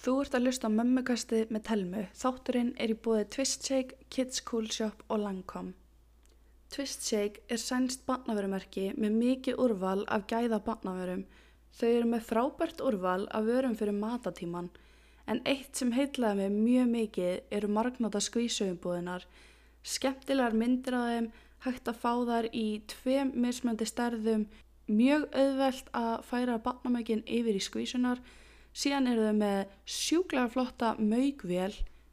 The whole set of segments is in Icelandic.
Þú ert að hlusta á mömmukastið með Telmu. Þátturinn er í búið Twist Shake, Kids Cool Shop og Lancome. Twist Shake er sænst barnavörumerki með mikið úrval af gæða barnavörum. Þau eru með frábært úrval af vörum fyrir matatíman. En eitt sem heitlaði mig mjög mikið eru margnóta skvísauðumbúðinar. Skemmtilegar myndir á þeim, hægt að fá þær í tveim mismöndi stærðum, mjög auðvelt að færa barnamökin yfir í skvísunar Síðan eru þau með sjúklega flotta maugvél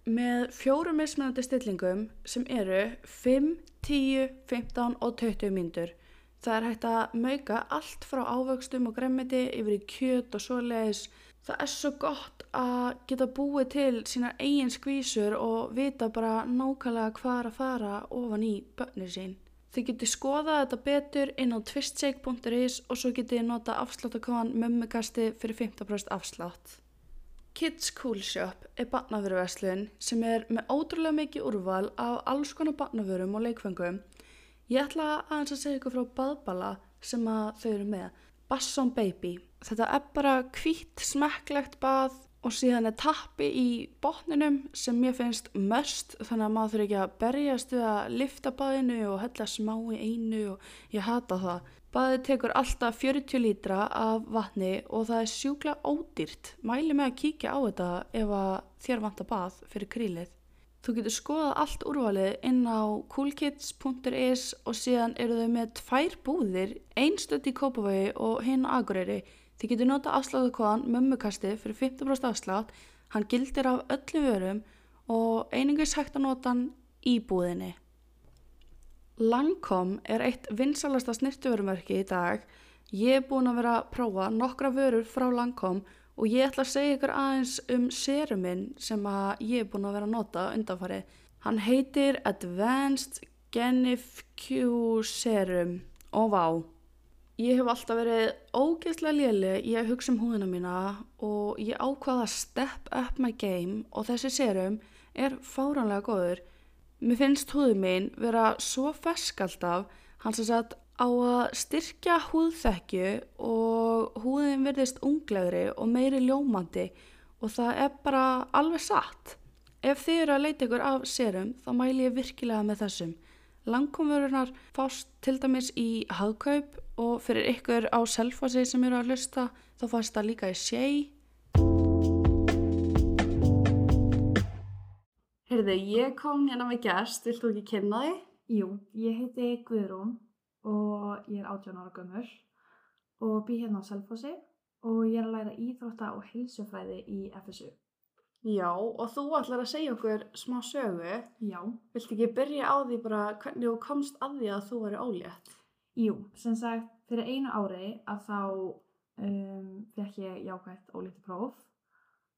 með fjórum mismunandi stillingum sem eru 5, 10, 15 og 20 myndur. Það er hægt að mauga allt frá ávöxtum og gremmiti yfir í kjöt og svoleiðis. Það er svo gott að geta búið til sína eigin skvísur og vita bara nákvæmlega hvað er að fara ofan í börnir sín. Þið getið skoðað þetta betur inn á twistsake.is og svo getið þið nota afsláttakon mömmukasti fyrir 15% afslátt. Kids Cool Shop er barnavöruverslun sem er með ótrúlega mikið úrval af alls konar barnavörum og leikfengum. Ég ætla aðeins að segja ykkur frá baðbala sem að þau eru með. Basson Baby. Þetta er bara hvítt smekklegt bað og síðan er tappi í botninum sem mér finnst mörst þannig að maður þurfi ekki að berjast við að lifta baðinu og hella smá í einu og ég hata það. Baðið tekur alltaf 40 lítra af vatni og það er sjúklega ódýrt. Mæli með að kíkja á þetta ef að þér vantar bað fyrir krílið. Þú getur skoðað allt úrvalið inn á coolkids.is og síðan eru þau með tvær búðir, einstönd í Kópavogi og hinn á Akureyri. Þið getur nota afsláttukoðan mömmukastið fyrir 50% afslátt, hann gildir af öllu vörum og einingis hægt að nota hann í búðinni. Lancome er eitt vinsalasta snirtuverumverki í dag. Ég er búin að vera að prófa nokkra vörur frá Lancome og ég ætla að segja ykkur aðeins um seruminn sem að ég er búin að vera að nota undanfarið. Hann heitir Advanced Genif Q Serum og vá. Ég hef alltaf verið ógeðslega léli í að hugsa um húðina mína og ég ákvaða að step up my game og þessi serum er fáránlega góður. Mér finnst húðin mín vera svo fersk alltaf, hans að sagt á að styrkja húðþekju og húðin verðist unglegri og meiri ljómandi og það er bara alveg satt. Ef þið eru að leita ykkur af serum þá mæli ég virkilega með þessum. Langkomverunar fást til dæmis í hagkaup og fyrir ykkur á selfasi sem eru að lusta þá fást það líka í séi. Heyrðu, ég kom hérna með gerst, vilt þú ekki kynna þig? Jú, ég heiti Guðrún og ég er 18 ára gömur og bý hérna á Selfossi og ég er að læra íþrótta og heilsufræði í FSU. Já, og þú ætlar að segja okkur smá sögu. Já. Vilt ekki byrja á því bara hvernig þú komst að því að þú væri ólétt? Jú, sem sagt, fyrir einu ári að þá um, fekk ég jákvæmt ólítið próf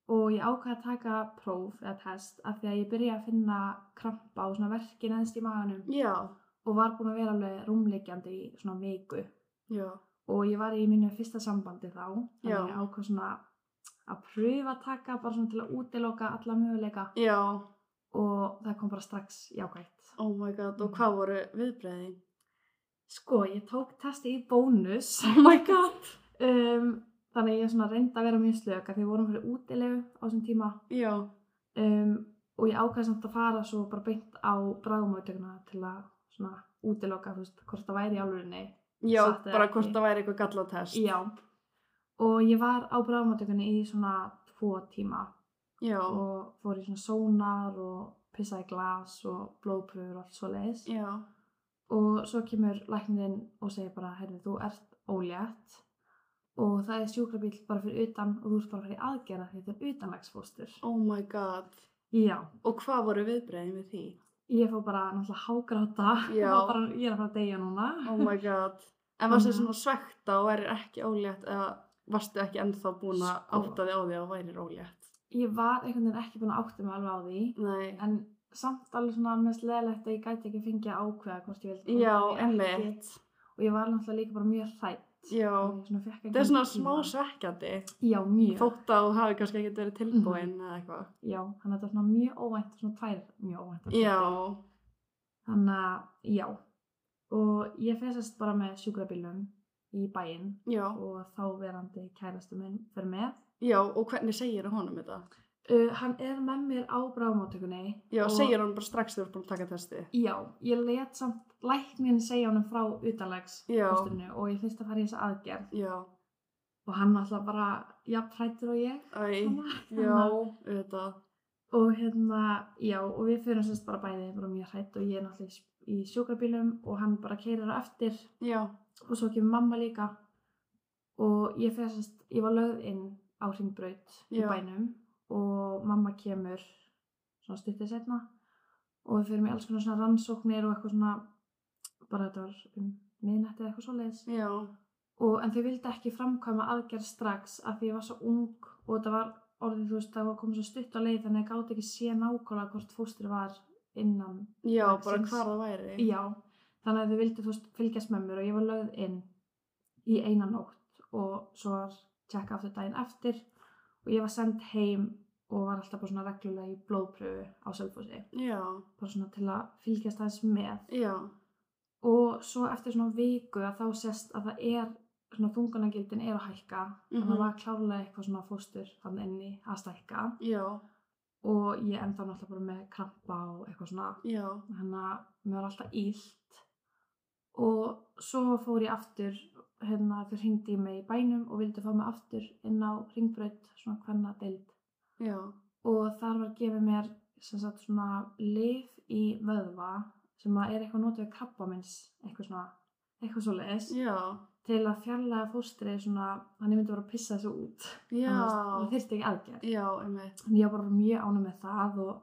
og ég ákvæði að taka próf eða test af því að ég byrja að finna krampa og svona verkin eðst í maganum Já, og var búin að vera alveg rúmleikjandi í svona viku já, og ég var í mínu fyrsta sambandi þá þannig Já. að ég ákvað svona að pröfa að taka bara svona til að útiloka alla möguleika já, og það kom bara strax jákvægt oh my god, og hvað voru viðbreiðin? sko ég tók testi í bónus Oh my god! um, þannig að ég svona reyndi að vera mjög slöka því við vorum fyrir útilegu á þessum tíma Já, um, og ég ákvað samt að fara svo bara beint á bráðumáttökuna til að svona útiloka þú veist hvort það væri í álurinni já, Satt eða bara ekki? hvort það væri eitthvað gallatest. já og ég var á bráðumáttökunni í svona tvo tíma Já, og fór í svona sónar og pissaði í glas og blóðpröfur og allt svo leiðis já, og svo kemur læknirinn og segir bara herri þú ert ólétt og það er sjúkrabíl bara fyrir utan og þú ert bara fyrir aðgerða því þetta er utanlagsfóstur oh my god. já, Og hvað voru viðbreiðin við því? ég fór bara náttúrulega hágráta Já. og bara, ég er að fara að deyja núna Oh my god. En varstu Mhm. svona svekta og væri ekki ólétt eða varstu ekki ennþá búin að Sko. átta þig á því að væri ólétt? ég var einhvern veginn ekki búin að átta mig alveg á því Nei. en samt alveg svona mest leðilegt að ég gæti ekki fengið að ákveða hvort ég vildi Já, koma eða ekki. emmitt. og ég var náttúrulega líka bara mjög hrætt Já. það Það er svona smá svekkjandi. Já, Mhm. mjög. Þótt að þú hafi kannski ekkert verið tilbúin eða eitthvað. Já, þannig að þetta var svona mjög óvænt, svona tvær mjög óvænt. Já, Þannig að, já. Og ég fesast bara með sjúkrabílum í bæinn Já, og þá verandi kærastu minn fyrir með. já, og hvernig segir honum þetta? Uh, hann er með mér á bráðmáttökunni. Já, og- segir honum bara strax þegar þú ert búin að taka testi. Já, ég let samt læknin segja honum frá utanlegs Já. kosturinu og ég finnst að fara í þessa aðgerð Já, og hann alltaf bara jafn hrættur og ég. æ, Þannig já, að- þetta, Og hérna, já, og við fyrir sérst bara bæði, bara mjög hrætt og ég er náttúrulega í s- í sjúkrabílum og hann bara keirir eftir já, og svo kemur mamma líka og ég fyrir sérst, ég var lögð inn á hringbraut í Já. bænum og mamma kemur svona stuttið setna og við fyrir með alls konar svona rannsóknir og eitthvað svona, bara þetta var um miðnætti eða eitthvað svoleiðis já, og, en þau vildi ekki framkvæma aðgerð strax af því ég var svo ung og þetta var orðið, þú veist, það var komið svo stutt á leið þannig að ég gáti ekki sé nákvæmlega hvort fóstur var innan, já, bara Lagsins. hvar það væri. já þannig að þau vildi, þú veist, fylgjast með mér og ég var lögð inn í eina nótt og svo var tjekka aftur daginn eftir og ég var send heim og var alltaf bara svona reglulega í blóðpröfu á Selfossi, Já, bara svona til að fylgjast aðeins með já, og svo eftir svona viku að þá sést að það er svona þungunagildin er að hækka þannig að Mhm. það var klárlega eitthvað svona fóstur þannig inni að stækka já, og ég enda náttúrulega bara með krampa og eitthvað svona já, þannig að mér var alltaf ílt og svo fór ég aftur hérna þau hringdi í mig í bænum og vildi fá mig aftur inn á ringbraut svona hvenna deild já, og þar var gefið mér sem sagt svona lif í vöðva sem að er eitthvað notið krabba minns eitthvað svona, eitthvað svo leiðis já, til að fjarlæga fóstrið svona, hann myndi bara að pissa þessu út já, Þannig að það þyrfti ekki aðgerð já, einmitt, en ég var bara mjög ánum með það og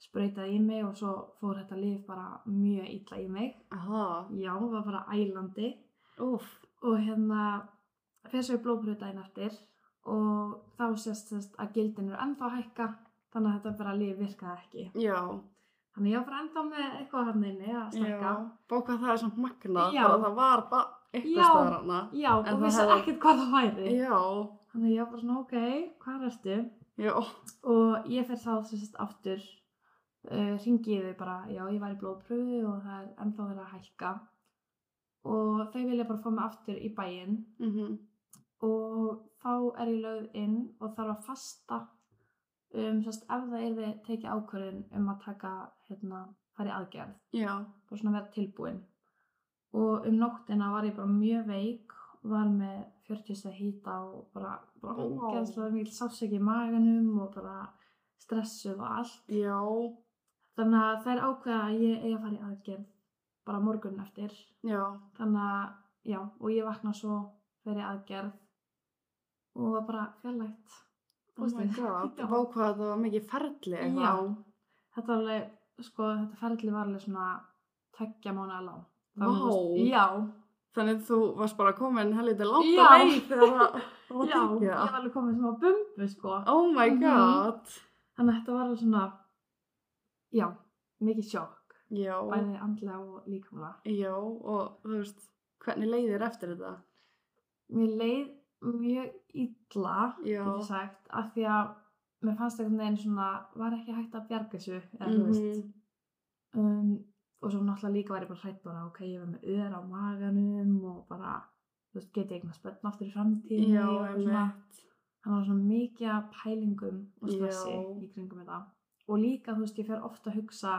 spreytaði í mig og svo fór þetta lif bara mjög illa í mig aha, já, var bara ælandi úf, og hérna fyrir svo í blóðpröfu daginn eftir og þá sést þess að gildin eru ennþá að hækka þannig að þetta bara líf virkaði ekki já, þannig ég var bara ennþá með eitthvað hann inni að já, stekka bá hvað það er samt magnað, Já. bara það var bara Já. eitthvað staðar hana. já, En og það vissi hefði- ekkert hvað það væri Já, þannig ég var bara svona ok, hvað ertu já, og ég fer þá sem sagt aftur uh, ringi ég þau bara já ég var í blóðpröfu og það er ennþá verið að hækka og þau vilja bara fá mig aftur í bæinn mhm, og þá er ég lögð inn og þarf að fasta um, sest, ef það er þið tekið ákvörðin um að taka hérna, fara í aðgerð já, og svona vera tilbúin og um nóttina var ég bara mjög veik var með 40 hýta og bara, bara Vá. ógeðslega mikil sásöki í maganum og bara stressuð og allt já, þannig að þær ákveða að ég eigi að fara í aðgerð bara morgun eftir já, þannig að já og ég vakna svo fyrir aðgerð og var bara fjarlægt oh my fóstrið. god, Já. bá hvað það var mikið ferli eitthvað. já þetta var alveg sko þetta ferli var alveg svona tveggja mánuða lang Það var- Vá. já Þannig að þú varst bara komin helviti langt Já. að leið þegar það það var Já, ég tekið var það. alveg komið sem á bumbu sko. Oh my Mhm. god. Þannig að þetta var alveg svona, já, mikið sjokk. Já, Bæði andlega og líkamlega. já og þú veist, hvernig leiðir eftir þetta? Mér leið mjög illa, Já. getur sagt, af því að mér fannst einhvern veginn svona, var ekki hægt að bjarga þessu, eða þú veist. Mhm. Um, og svo náttúrulega líka var ég bara hrætt bara, ok, ég var með öður á maganum og bara, þú veist, get ég eitthvað spenn aftur í framtíðinni Já, og eitthvað svona. einmitt. hann var svona mikið af pælingum og stressi Já. í kringum þetta og líka, þú veist, ég fer ofta að hugsa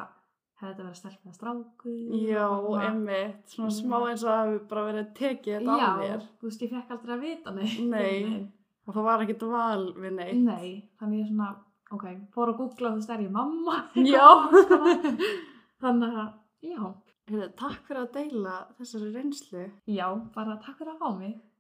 hefði þetta verið stelp með stráku Já, einmitt. Svona smá eins og það hefur bara verið tekið þetta Mhm. já, á þér. þú veist, ég fekk aldrei að vita neitt Nei. Nei. Og það var ekkert val við neitt. Nei, þannig ég svona, ok, fór að googla þú veist, er ég mamma Já. þannig að, já Heyrðu, takk fyrir að deila þessari reynslu. já, bara takk fyrir að fá mig